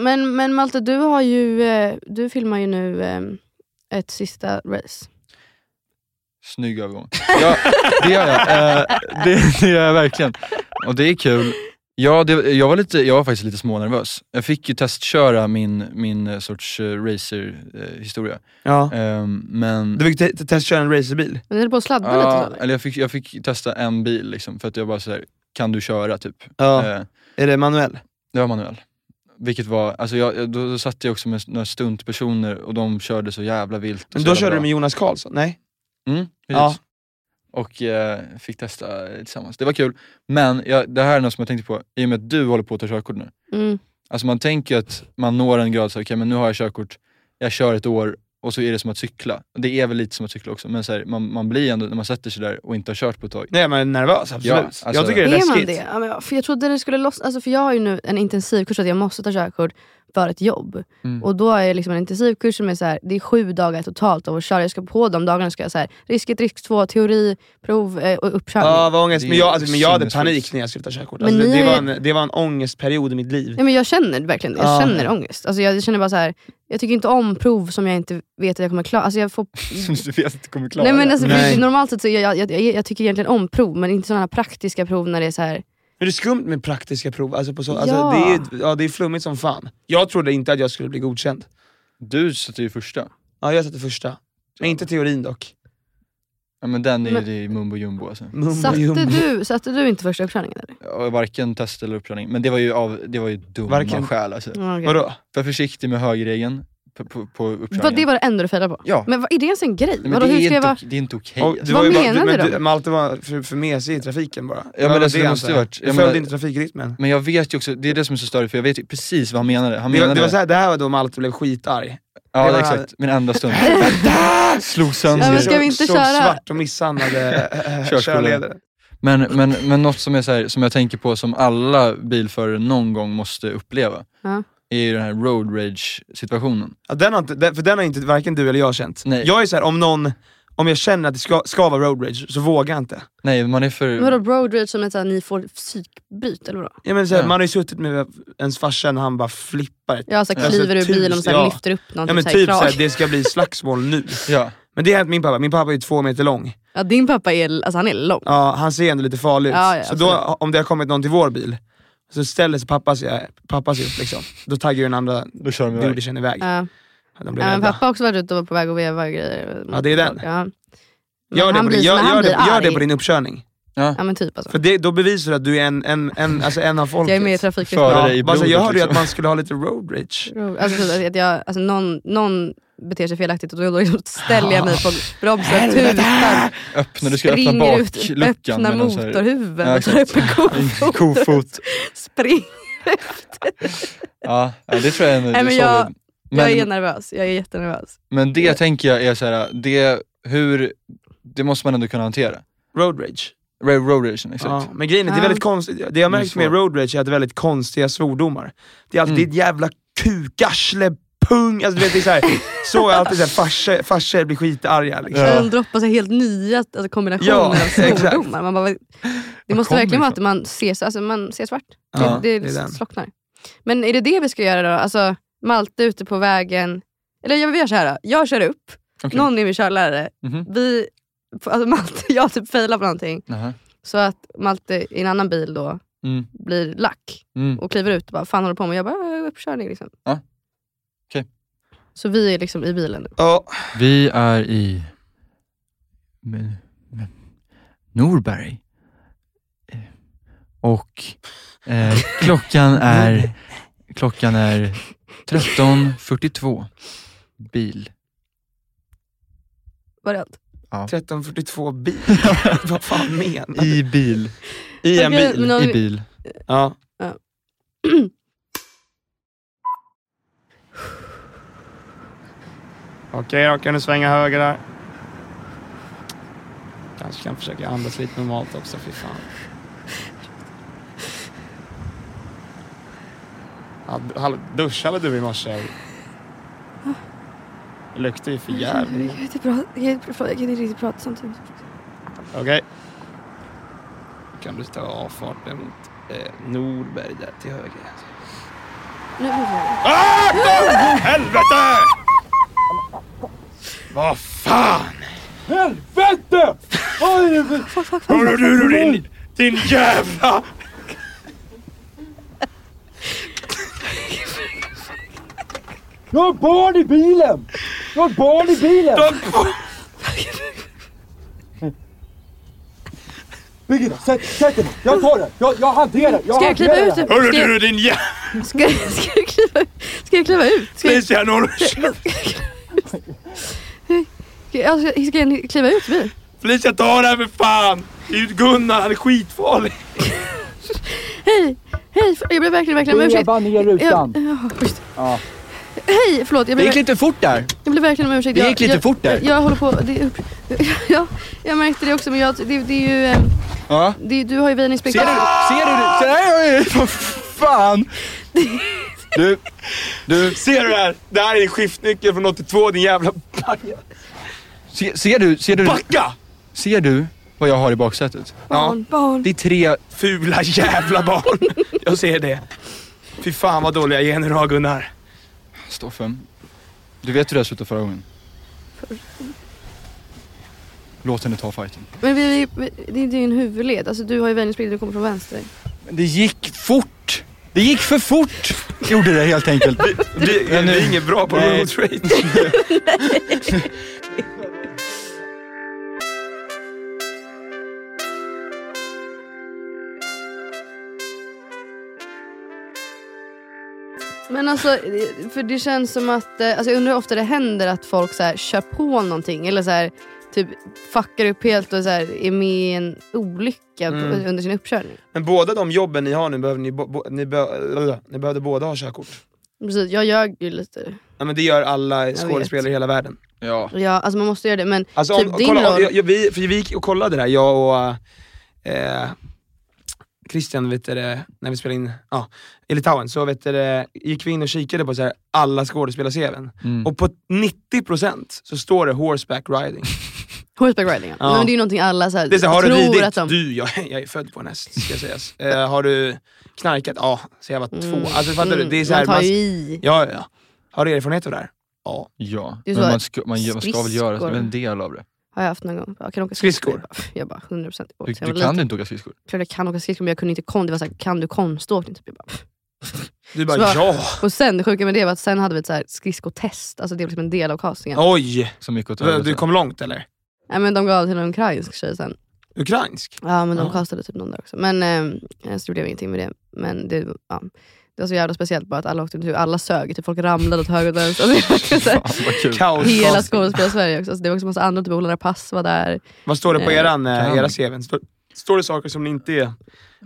Speaker 5: Men, men Malte, du, har ju, eh, du filmar ju nu eh, ett sista race.
Speaker 3: Snygg övergång. Ja, det gör jag. Eh, det, det gör jag verkligen. Och det är kul. Ja, det, jag, var lite, jag var faktiskt lite smånervös. Jag fick ju testköra min, min eh, sorts eh, racer-historia. Mm.
Speaker 6: Ja.
Speaker 3: men...
Speaker 6: Du fick te- te- testköra en racerbil?
Speaker 5: Men du höll på att sladda lite.
Speaker 3: Ja,
Speaker 5: eller?
Speaker 3: eller jag fick, jag fick testa en bil liksom, för att jag bara såhär, kan du köra typ?
Speaker 6: Ja.
Speaker 3: Eh,
Speaker 6: Är det manuell?
Speaker 3: det var manuell. Vilket var, alltså jag, jag- då, då satt jag också med några stuntpersoner och de körde så jävla vilt. och
Speaker 6: Men
Speaker 3: så
Speaker 6: då
Speaker 3: jävla
Speaker 6: körde
Speaker 3: bra.
Speaker 6: du med Jonas Karlsson? Nej?
Speaker 3: Mm,
Speaker 6: Ja.
Speaker 3: precis. Och eh, fick testa tillsammans. Det var kul. Men jag, det här är något som jag tänkte på, i och med att du håller på att ta körkort nu.
Speaker 5: Mm.
Speaker 3: Alltså man tänker ju att man når en grad, så här, okej men nu har jag körkort, jag kör ett år och så är det som att cykla. Det är väl lite som att cykla också, men så här, man, man blir ändå, när man sätter sig där och inte har kört på ett tag.
Speaker 6: Nej men jag är nervös, absolut.
Speaker 3: Ja, alltså-
Speaker 6: jag tycker det är,
Speaker 5: Är man
Speaker 6: läskigt.
Speaker 5: det? Ja, men, jag- för jag trodde det skulle lossna. Alltså, för jag har ju nu en intensivkurs att jag måste ta körkort för ett jobb.
Speaker 3: Mm.
Speaker 5: Och då är jag liksom en intensivkurs som är så här, det är sju dagar totalt av att köra. Jag ska på de dagarna ska jag så här, risk 1, risk 2, teori, prov eh, och uppkörning.
Speaker 6: Ja, vad ångest.
Speaker 3: Det är
Speaker 6: Men jag, alltså, men jag hade
Speaker 3: sinnessjukt.
Speaker 6: panik när jag skulle ta körkort.
Speaker 5: Men
Speaker 6: Alltså,
Speaker 5: ni
Speaker 6: det, det,
Speaker 5: har
Speaker 6: var
Speaker 5: ju-
Speaker 6: en, det var en ångestperiod i mitt liv.
Speaker 5: Nej, men jag känner verkligen det. Jag
Speaker 6: Ja.
Speaker 5: känner ångest. Alltså, jag känner bara så här, jag tycker inte om prov som jag inte vet att jag kommer klara. Alltså, jag får...
Speaker 3: Som du vet att du kommer klara.
Speaker 5: Nej, men alltså, för
Speaker 6: Nej.
Speaker 5: Normalt sett så jag, jag, jag, jag tycker egentligen om prov, men inte sådana här praktiska prov när det är så här.
Speaker 6: Men det är skumt med praktiska prov. Alltså, på så, alltså,
Speaker 5: Ja.
Speaker 6: det, är, ja, det är flummigt som fan. Jag trodde inte att jag skulle bli godkänd.
Speaker 3: Du sätter ju första.
Speaker 6: Ja, jag satte första. Men inte teorin dock.
Speaker 3: Ja, men den är ju
Speaker 5: Men-
Speaker 3: det är mumbo jumbo alltså.
Speaker 6: Mumbo
Speaker 5: Satte
Speaker 6: jumbo.
Speaker 5: du, satte du inte första uppkörningen? Eller?
Speaker 3: Ja, Varken test eller uppkörning. Men det var ju, av, det var ju dumma
Speaker 6: Varken-
Speaker 3: skäl alltså.
Speaker 5: Ja, okej.
Speaker 6: Vadå?
Speaker 3: Var försiktig med högerregeln på, på, på uppkörningen.
Speaker 5: Vad, det var det enda du failade på?
Speaker 3: Ja.
Speaker 5: Men vad, är det ens en grej?
Speaker 3: Nej, men
Speaker 5: Vadå,
Speaker 3: det,
Speaker 5: hur
Speaker 3: är
Speaker 5: ska jag
Speaker 3: inte,
Speaker 5: vara...
Speaker 3: ok- det är inte okej.
Speaker 6: Och
Speaker 3: alltså.
Speaker 6: du var ju
Speaker 5: Vad
Speaker 6: bara- du-
Speaker 5: menar
Speaker 6: men
Speaker 5: du
Speaker 6: du-
Speaker 5: då?
Speaker 6: Malte var för, för mesig i trafiken bara.
Speaker 3: men
Speaker 6: var
Speaker 3: alltså, det
Speaker 6: han
Speaker 3: måste
Speaker 6: sa.
Speaker 3: ju varit-
Speaker 6: Du
Speaker 3: jag
Speaker 6: följde
Speaker 3: menar-
Speaker 6: inte trafikrytmen.
Speaker 3: Men jag vet ju också, det är det som är så störigt, för jag vet ju precis vad han menade. Han
Speaker 6: Det,
Speaker 3: menade
Speaker 6: var- det, var så här, det här var då Malte blev skitarg.
Speaker 3: ja,
Speaker 6: det var-
Speaker 3: exakt. Min enda stund. Slog sönder.
Speaker 5: Ja, men
Speaker 6: Så-
Speaker 5: ska vi inte
Speaker 6: såg
Speaker 5: köra?
Speaker 6: svart och misshandlade eh,
Speaker 3: Körskolan.
Speaker 6: körledare.
Speaker 3: Men, men, men något som, är så här, som jag tänker på som alla bilförare någon gång måste uppleva,
Speaker 5: Ja.
Speaker 3: är ju den här road rage situationen.
Speaker 6: Ja, den har inte, den, för den har inte varken du eller jag känt.
Speaker 3: Nej.
Speaker 6: Jag är så här, om någon, om jag känner att det ska, ska vara road rage så vågar jag inte.
Speaker 3: Nej, man är för...
Speaker 5: Vadå road rage som är såhär, ni får psykbryt eller vadå?
Speaker 6: Jag menar, så här,
Speaker 3: Ja.
Speaker 6: Man har ju suttit med ens farsa när han bara flippar ett
Speaker 5: Ja, så
Speaker 6: Ja.
Speaker 5: här, kliver ur
Speaker 6: Alltså,
Speaker 5: bilen och så här,
Speaker 6: ja.
Speaker 5: lyfter upp
Speaker 6: Ja
Speaker 5: någonting
Speaker 6: men
Speaker 5: så här, i
Speaker 6: typ såhär,
Speaker 5: kragen.
Speaker 6: det ska bli slagsmål nu.
Speaker 3: Ja.
Speaker 6: Men det har hänt min pappa, min pappa är ju två meter lång.
Speaker 5: Ja, din pappa är, alltså, han är lång.
Speaker 6: Ja, han ser ändå lite farlig ut.
Speaker 5: Ja, ja,
Speaker 6: så då, om det har kommit någon till vår bil, så ställer sig pappa sig, pappa sig upp liksom. Då taggar ju den andra
Speaker 3: Då kör de iväg.
Speaker 6: burdisen iväg.
Speaker 5: Ja.
Speaker 6: De blir
Speaker 5: Ja, men
Speaker 6: rädda.
Speaker 5: pappa har också varit ute och var på väg att veva och grejer.
Speaker 6: Ja, det är den.
Speaker 5: Ja. Men
Speaker 6: Gör, det
Speaker 5: han
Speaker 6: på,
Speaker 5: blir,
Speaker 6: din,
Speaker 5: men
Speaker 6: gör,
Speaker 5: han
Speaker 6: gör, det,
Speaker 5: blir
Speaker 6: gör det
Speaker 5: arg.
Speaker 6: på din uppkörning.
Speaker 5: Ja men typ alltså.
Speaker 6: För det, då bevisar du att du är en, en, en, alltså en av folket.
Speaker 5: Jag är med i
Speaker 3: Före
Speaker 5: trafikflykten.
Speaker 3: dig i
Speaker 6: bara så här, jag
Speaker 3: blodet,
Speaker 6: hörde ju att
Speaker 3: liksom.
Speaker 6: man skulle ha lite road rage.
Speaker 5: Alltså, typ att jag, alltså, någon, någon beter sig felaktigt och då liksom ställer jag mig på bromsen, tutar,
Speaker 3: Öppna, Ah, du ska öppna
Speaker 5: typ- springer ut,
Speaker 3: bakluckan
Speaker 5: öppnar
Speaker 3: med någon så här-
Speaker 5: motorhuven,
Speaker 3: Ja,
Speaker 5: och tar upp
Speaker 3: exakt.
Speaker 5: en kofot,
Speaker 3: Kofot.
Speaker 5: springer.
Speaker 3: Ja, ja, det tror jag är
Speaker 5: Nej,
Speaker 3: en
Speaker 5: men
Speaker 3: solid.
Speaker 5: jag- Jag är
Speaker 3: men,
Speaker 5: nervös, jag är jättenervös.
Speaker 3: men det tänker jag är så här, det, hur, det måste man ändå kunna hantera.
Speaker 6: Road rage.
Speaker 3: Road road rage, exakt.
Speaker 6: Ja, men grejen är, det är
Speaker 5: Ja.
Speaker 6: väldigt konstigt. Det jag har
Speaker 3: Det är
Speaker 6: märkt med
Speaker 3: svårt.
Speaker 6: road rage är att det är väldigt konstiga svordomar. Det är alltid
Speaker 3: Mm.
Speaker 6: ditt jävla kukarsle, pung, alltså du vet det är såhär, så är alltid såhär, farsor- farsor blir skitarga liksom.
Speaker 5: Ja. De droppar så här helt nya alltså, kombinationer
Speaker 6: Ja,
Speaker 5: av
Speaker 6: exakt.
Speaker 5: svordomar. Man bara, det måste
Speaker 3: kommer
Speaker 5: verkligen
Speaker 3: det
Speaker 5: vara att man ser, så- alltså, man ser svart. Det,
Speaker 6: Ja,
Speaker 5: det,
Speaker 6: det är den.
Speaker 5: slocknar. Men är det det vi ska göra då? Alltså, Malte ute på vägen. Eller jag gör så här. då. Jag kör upp,
Speaker 3: Okej.
Speaker 5: någon är min körlärare.
Speaker 3: Mhm.
Speaker 5: Vi, alltså, Malte, jag typ failar på någonting.
Speaker 3: Jaha.
Speaker 5: Så att Malte i en annan bil då
Speaker 3: Mm.
Speaker 5: blir lack
Speaker 3: Mm.
Speaker 5: och kliver ut och bara, fan håller du på med? Jag bara, "Äh, uppkörning liksom.
Speaker 3: Ja. Okej.
Speaker 5: Så vi är liksom i bilen nu.
Speaker 6: Ja.
Speaker 3: Vi är i men- men- Norberg. Eh, Och eh, klockan är klockan är 13.42. Bil.
Speaker 5: Var det allt?
Speaker 3: Ja.
Speaker 6: 1342 bil. Vad fan menar
Speaker 3: I bil.
Speaker 6: I en
Speaker 5: Okej,
Speaker 6: bil.
Speaker 5: men om vi-
Speaker 3: I bil.
Speaker 6: Ja. Okej då, kan du svänga höger där. Kanske kan försöka andas lite normalt också, fy fan. Ja, hall- Duschade du i morse? Det luktar ju för jävligt.
Speaker 5: Jag kan inte prata- jag kan inte prata- jag kan inte riktigt prata samtidigt.
Speaker 6: Okej. Kan du ta avfarten mot eh, Norberg där till höger?
Speaker 5: Nu, nu, nu.
Speaker 6: Ah! för Helvete! Vad fan! Helvete! Vad är det för... Hörru du du, din, din jävla...
Speaker 8: Jag har barn i bilen! Jag har barn i bilen! Birgitta, sätt, sätt dig ner. Jag tar det. Jag, jag hanterar det. Jag
Speaker 5: Ska jag kliva
Speaker 8: hanterar
Speaker 5: ut?
Speaker 8: det här.
Speaker 5: Hörru, du, din
Speaker 6: jävla...
Speaker 5: Ska, ska, jag kliva, ska jag kliva ut? Ska jag,
Speaker 6: Special Norwich!
Speaker 5: ska, jag, ska, ska jag kliva ut bil?
Speaker 6: Felicia ta det här för fan! Det är ju Gunnar, han är skitfarlig!
Speaker 5: Hej! Hej! för- Jag ber verkligen, verkligen om
Speaker 8: Börja
Speaker 5: ursäkt.
Speaker 8: bara ner rutan.
Speaker 5: Jag, ja, schysst.
Speaker 8: Ja.
Speaker 5: Hej! Förlåt. Jag ber,
Speaker 8: fort där.
Speaker 5: jag ber verkligen om ursäkt.
Speaker 8: Det
Speaker 5: Jag-
Speaker 8: gick lite
Speaker 5: jag,
Speaker 8: fort där.
Speaker 5: Jag, jag håller på... Det, är upp- ja, jag märkte det också men jag, det, det är ju... eh,
Speaker 3: Ja.
Speaker 5: Det, du har ju
Speaker 3: Ser
Speaker 5: väjningsspektrum.
Speaker 3: du? Ser du? det?
Speaker 5: Ah!
Speaker 3: Ser du? Vad fan!
Speaker 6: Du, du. Ser du det här? Det här är din skiftnyckel från 82 din jävla...
Speaker 3: Se, ser du? Ser du?
Speaker 6: Backa!
Speaker 3: Ser du vad jag har i baksätet?
Speaker 6: Barn,
Speaker 5: barn.
Speaker 3: Det är tre
Speaker 6: Fula jävla barn! Jag ser det. Fy fan vad dåliga gener du har Gunnar.
Speaker 3: Stoffe, du vet hur det här slutade förra gången? Låt henne ta fighten.
Speaker 5: Men vi, vi, det är din huvudled. Alltså du har ju väjningsspektrum, du kommer från vänster.
Speaker 3: Men det gick fort! Det gick för fort! Gjorde det helt enkelt.
Speaker 6: Vi, vi är inget bra på
Speaker 3: Nej.
Speaker 6: road rage.
Speaker 5: Men alltså, det- för det känns som att... eh, Alltså jag undrar hur ofta det händer att folk så här, kör på någonting. Eller så här, typ fuckar upp helt och så här, är med i en olycka på-
Speaker 6: Mm.
Speaker 5: under sin uppkörning.
Speaker 6: Men båda de jobben ni har nu, behöver ni, bo, bo, ni, be, ni behövde båda ha körkort.
Speaker 5: Precis, jag ljög ju lite.
Speaker 6: Ja, men det gör alla
Speaker 5: vet.
Speaker 6: skådespelare i hela världen. Ja.
Speaker 5: Ja, alltså man måste göra det. Men
Speaker 6: Alltså,
Speaker 5: typ
Speaker 6: om,
Speaker 5: din
Speaker 6: kolla, om,
Speaker 5: roll...
Speaker 6: jag, jag, vi, för vi gick och kollade det här, jag och eh, Christian, vet du, det, när vi spelade in ja, i Litauen, så vet du, det, gick vi in och kikade på så här, alla skådespelar-CVn.
Speaker 3: Mm.
Speaker 6: Och på 90% så står det horseback riding.
Speaker 5: Horseback riding, ja.
Speaker 6: Ja.
Speaker 5: Men det är ju någonting alla så här,
Speaker 6: Det är så, här, har du
Speaker 5: tror
Speaker 6: ridit?
Speaker 5: att de...
Speaker 6: Du, jag, jag är född på en häst ska sägas. Eh, har du knarkat? Ja, så jag var två. Alltså fattar du? Det är så här,
Speaker 5: Mm. man tar ju
Speaker 6: mass-
Speaker 5: i.
Speaker 6: Ja, ja, ja. Har du erfarenhet av det här? Ja.
Speaker 3: Ja,
Speaker 5: Det är så
Speaker 3: men
Speaker 5: här,
Speaker 3: man ska, man, gör- man ska väl göra det. Det är väl en del av det.
Speaker 5: Har jag haft någon gång. Jag kan åka
Speaker 6: Skridskor?
Speaker 5: Jag bara 100% på.
Speaker 3: Du,
Speaker 5: Så jag var
Speaker 3: du kan
Speaker 5: liten.
Speaker 3: inte åka skridskor.
Speaker 5: Klart jag kan åka skridskor men jag kunde inte konst. Det var såhär, kan du konståkning? Typ. Jag bara, pff.
Speaker 6: Du bara,
Speaker 5: Så
Speaker 6: ja.
Speaker 5: Och sen, det sjuka med det var att sen hade vi ett så här skridskotest. Alltså det var liksom en del av castingen.
Speaker 6: Oj!
Speaker 3: Så mycket åt
Speaker 6: Du
Speaker 3: helvete.
Speaker 6: kom långt eller?
Speaker 5: Nej, men de gav till en ukrainsk tjej sen.
Speaker 6: Ukrainsk?
Speaker 5: Ja men de
Speaker 6: Ja.
Speaker 5: castade typ någon där också. Men eh, så gjorde jag ingenting med det. Men det, ja. det var så jävla speciellt bara att alla åkte tur. Alla sög, typ folk ramlade åt höger och vänster. Alltså, det var verkligen så här-
Speaker 6: Kaos.
Speaker 5: Hela skådespelar-Sverige också. Alltså, det var också massa andra, typ Ola Rapace var där.
Speaker 6: Vad står det på
Speaker 5: Eh,
Speaker 6: eran, eh,
Speaker 3: kan.
Speaker 6: era CVn? Står, står det saker som ni inte är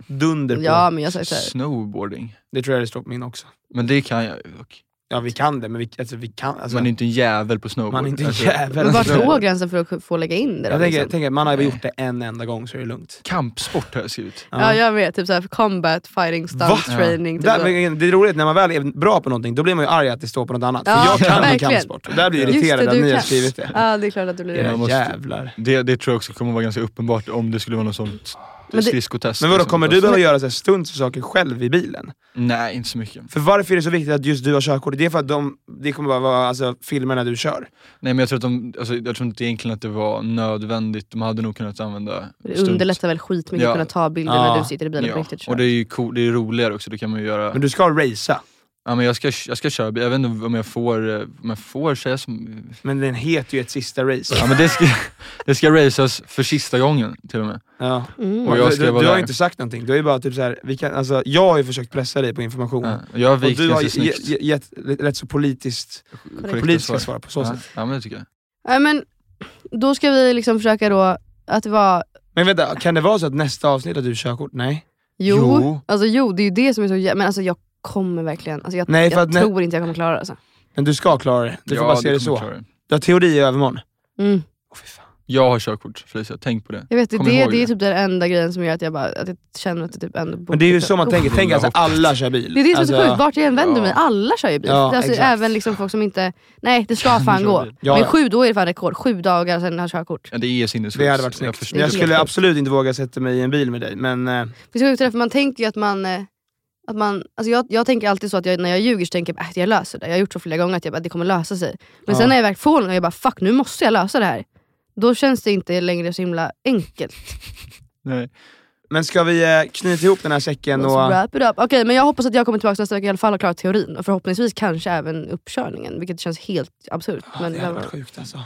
Speaker 6: dunder på?
Speaker 5: Ja men jag sa ju såhär,
Speaker 3: Snowboarding.
Speaker 6: Det tror jag det står på min också.
Speaker 3: Men det kan jag ju dock.
Speaker 6: Ja vi kan det, men vi, alltså, vi kan... Alltså,
Speaker 3: Man är inte en jävel på snowboard.
Speaker 6: Man är inte en
Speaker 3: Alltså,
Speaker 6: jävel.
Speaker 5: men vart går gränsen för att få lägga in det då?
Speaker 6: jag tänker,
Speaker 5: Liksom?
Speaker 6: jag tänker, man har väl gjort det en enda gång så är det lugnt.
Speaker 3: Kampsport har jag skrivit.
Speaker 5: Ja, jag vet. Typ såhär combat, fighting,
Speaker 6: Va?
Speaker 5: stunt training. Typ
Speaker 6: Där,
Speaker 5: så.
Speaker 6: men det är roligt, när man väl är bra på någonting, då blir man ju arg att det står på något annat.
Speaker 5: Ja,
Speaker 6: För jag kan ju
Speaker 5: verkligen.
Speaker 6: kampsport. Och Där blir jag
Speaker 5: Just
Speaker 6: irriterad
Speaker 5: det,
Speaker 6: att
Speaker 5: du
Speaker 6: ni har
Speaker 5: kan.
Speaker 6: skrivit det.
Speaker 5: Ja, det är klart att du blir
Speaker 6: Era
Speaker 5: det.
Speaker 3: måste-
Speaker 6: jävlar.
Speaker 3: Det, det tror jag också kommer vara ganska uppenbart om det skulle vara något sånt Det är skridskotest.
Speaker 6: Men vadå,
Speaker 3: liksom.
Speaker 6: kommer du behöva göra så här stunts och saker själv i bilen?
Speaker 3: Nej, inte så mycket.
Speaker 6: För varför är det så viktigt att just du har körkort? Det är för att de, det kommer bara vara alltså, filmer när du kör.
Speaker 3: Nej men jag tror, att de, alltså, jag tror inte egentligen att det var nödvändigt, de hade nog kunnat använda
Speaker 5: Det
Speaker 3: stunt.
Speaker 5: underlättar väl skitmycket att kunna ta bilder när
Speaker 3: Ja.
Speaker 5: du sitter i bilen på
Speaker 3: Ja,
Speaker 5: riktigt.
Speaker 3: och det är ju cool, det är roligare också, då kan man ju göra...
Speaker 6: Men du ska racea?
Speaker 3: Ja men jag ska, jag ska köra bil, jag vet inte om jag får, eh, om jag får säga som...
Speaker 6: Men den heter ju ett sista race.
Speaker 3: Ja men det ska, det ska raceas för sista gången till och med.
Speaker 6: Ja.
Speaker 5: Mm.
Speaker 3: Och jag
Speaker 6: du,
Speaker 3: ska
Speaker 6: du,
Speaker 3: vara
Speaker 6: du har
Speaker 3: där.
Speaker 6: ju inte sagt någonting, du har ju bara typ såhär, vi kan, alltså, jag har ju försökt pressa dig på information.
Speaker 3: och jag har vikt
Speaker 6: du har
Speaker 3: ganska
Speaker 6: ge-
Speaker 3: snyggt.
Speaker 6: ge- gett rätt så politiskt,
Speaker 3: Korrekta
Speaker 6: politiska
Speaker 3: svar.
Speaker 6: svar på så
Speaker 3: ja.
Speaker 6: sätt.
Speaker 3: Ja men det tycker jag.
Speaker 5: Nej, men, då ska vi liksom försöka då att vara...
Speaker 6: Men vänta, kan det vara så att nästa avsnitt att du kör kort? Nej?
Speaker 5: Jo,
Speaker 6: Jo.
Speaker 5: Alltså, jo det är ju det som är så jä- Men alltså, jag kommer verkligen... Alltså, jag
Speaker 6: Nej, för
Speaker 5: jag
Speaker 6: att när-
Speaker 5: tror inte jag kommer klara det. Alltså.
Speaker 6: Men du ska klara det, du
Speaker 3: Ja,
Speaker 6: får bara
Speaker 3: du
Speaker 6: se det så.
Speaker 3: kommer klara det.
Speaker 6: Du har teori i övermorgon.
Speaker 5: Mm.
Speaker 3: Jag har körkort Felicia, tänk på det.
Speaker 5: Jag vet, det,
Speaker 3: Kom
Speaker 5: det,
Speaker 3: ihåg
Speaker 5: det är typ den enda grejen som gör att jag, bara, att jag känner att det typ ändå borde...
Speaker 6: Men det är ju så man tänker, tänk alltså
Speaker 3: hoppas.
Speaker 6: alla kör bil.
Speaker 5: Det är det som är så
Speaker 6: Alltså-
Speaker 5: sjukt, vart jag än vänder mig, alla kör ju bil.
Speaker 6: Ja,
Speaker 5: alltså,
Speaker 6: exakt.
Speaker 5: även liksom folk som inte... Nej, det ska fan
Speaker 6: kör
Speaker 5: gå.
Speaker 6: bil. Ja,
Speaker 5: men
Speaker 6: ja.
Speaker 5: sju, då är det fan rekord. Sju dagar sen har jag körkort.
Speaker 3: Ja, det är sinnessjukt.
Speaker 6: Det hade varit
Speaker 3: Jag
Speaker 6: snyggt.
Speaker 3: förstår.
Speaker 6: Jag, jag skulle
Speaker 3: Helt
Speaker 6: absolut inte våga sätta mig i en bil med dig, men... eh,
Speaker 5: Det är så sjukt det där, för man tänker ju att man... eh, Att man alltså jag, jag tänker alltid så att jag, när jag ljuger så tänker jag att jag löser det. Jag har gjort så flera gånger att jag bara, det kommer lösa sig. Men
Speaker 6: Ja.
Speaker 5: sen när jag väl får någon och jag bara, fuck nu måste jag lösa det här. Då känns det inte längre så himla enkelt.
Speaker 6: Men ska vi eh, knyta ihop den här säcken och...
Speaker 5: Let's wrap it up. Okej, men jag hoppas att jag kommer tillbaka nästa vecka i alla fall och klarar teorin. Och förhoppningsvis kanske även uppkörningen, vilket känns helt absurt. Men
Speaker 6: Det
Speaker 5: det
Speaker 6: hade
Speaker 5: var-
Speaker 6: varit sjukt alltså.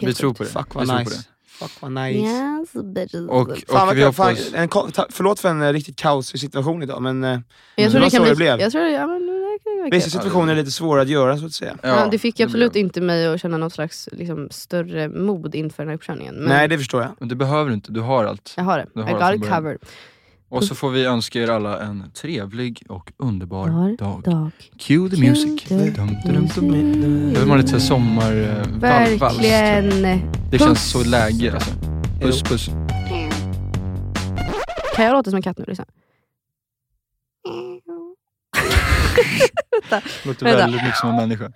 Speaker 3: Vi tror på det.
Speaker 6: Fuck
Speaker 3: Vi
Speaker 6: vad
Speaker 3: tror på
Speaker 6: nice. Fuck vad nice.
Speaker 4: Yes, bitches.
Speaker 3: Och, och
Speaker 6: Fan, vad
Speaker 3: vi
Speaker 6: kul. fan,
Speaker 3: hoppas...
Speaker 6: en, ko- ta, förlåt för en eh, riktigt kaosig situation idag, men eh,
Speaker 5: Jag
Speaker 6: det
Speaker 5: tror
Speaker 6: var
Speaker 3: Mm.
Speaker 5: det
Speaker 6: så
Speaker 5: kan
Speaker 6: det
Speaker 5: bli...
Speaker 6: blev.
Speaker 5: Jag tror, ja, men, det kan ju
Speaker 6: Vissa
Speaker 5: verka-
Speaker 6: situationer är lite svåra att göra så att säga.
Speaker 5: Ja, det fick ju absolut inte mig att känna något slags liksom, större mod inför den här uppkörningen. Men
Speaker 6: Nej, det förstår jag.
Speaker 3: Men det behöver du inte, du har allt.
Speaker 5: jag har det.
Speaker 3: Du
Speaker 5: I
Speaker 3: har
Speaker 5: got
Speaker 3: allt från
Speaker 5: it
Speaker 3: början.
Speaker 5: covered.
Speaker 3: Och så får vi önska er alla en trevlig och underbar
Speaker 5: Bar,
Speaker 3: dag.
Speaker 5: dag.
Speaker 3: Cue the music. Dum, dum, dum, dum. Jag vill ha lite sommarvals.
Speaker 5: Verkligen.
Speaker 3: eh, Det känns så läge alltså. Puss
Speaker 6: Jo.
Speaker 3: puss.
Speaker 5: Kan jag låta som en katt nu? Liksom? Vänta.
Speaker 3: Låter
Speaker 5: Vänta.
Speaker 3: väldigt mycket som en människa.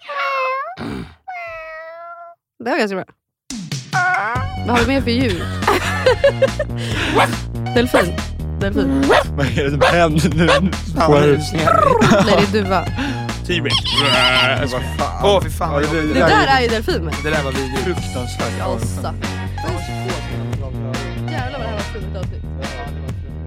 Speaker 5: Det var ganska bra. Vad har vi mer för djur? Delfin. Delfin.
Speaker 3: Vad är det som händer nu?
Speaker 6: Fan, vad rusningar.
Speaker 5: Nej, det är duva.
Speaker 6: T-Rex. Äh, Åh fy fan. Det,
Speaker 5: Det där är ju delfin. men.
Speaker 6: Det där var vidrigt. Fruktansvärt.
Speaker 5: typ. Jävlar vad det här var ett flummigt avsnitt.